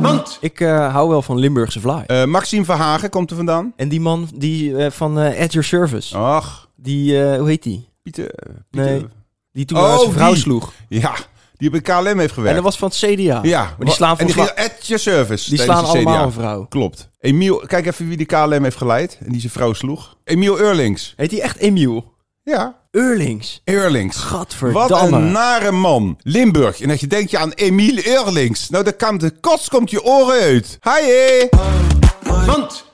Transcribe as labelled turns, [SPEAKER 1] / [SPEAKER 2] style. [SPEAKER 1] Want
[SPEAKER 2] Ik eh, hou wel van Limburgse vlaai.
[SPEAKER 1] eh, Maxime Verhagen komt er vandaan.
[SPEAKER 2] en die man die, eh, van eh, At Your Service,
[SPEAKER 1] Ach,
[SPEAKER 2] die, eh, hoe heet die?
[SPEAKER 1] Pieter. eh,
[SPEAKER 2] Nee.
[SPEAKER 1] Pieter.
[SPEAKER 2] Die toen
[SPEAKER 1] Oh,
[SPEAKER 2] maar zijn vrouw
[SPEAKER 1] die.
[SPEAKER 2] sloeg.
[SPEAKER 1] Ja, die bij KLM heeft
[SPEAKER 2] En
[SPEAKER 1] gewerkt.
[SPEAKER 2] dat was van het CDA.
[SPEAKER 1] ja,
[SPEAKER 2] Maar die slaan,
[SPEAKER 1] en die
[SPEAKER 2] volgens mij-
[SPEAKER 1] gingen at your service.
[SPEAKER 2] die
[SPEAKER 1] tijdens
[SPEAKER 2] slaan
[SPEAKER 1] de CDA.
[SPEAKER 2] allemaal een vrouw.
[SPEAKER 1] Klopt. Emiel, kijk even wie de KLM heeft geleid en die zijn vrouw sloeg. Emiel Eurlings.
[SPEAKER 2] Heet die echt Emiel?
[SPEAKER 1] Ja,
[SPEAKER 2] Eurlings.
[SPEAKER 1] Eurlings.
[SPEAKER 2] Gadverdamme.
[SPEAKER 1] Wat een nare man. Limburg. En dat je denkt je aan Emiel Eurlings. Nou, dat kan de kots komt je oren uit. Hi, Want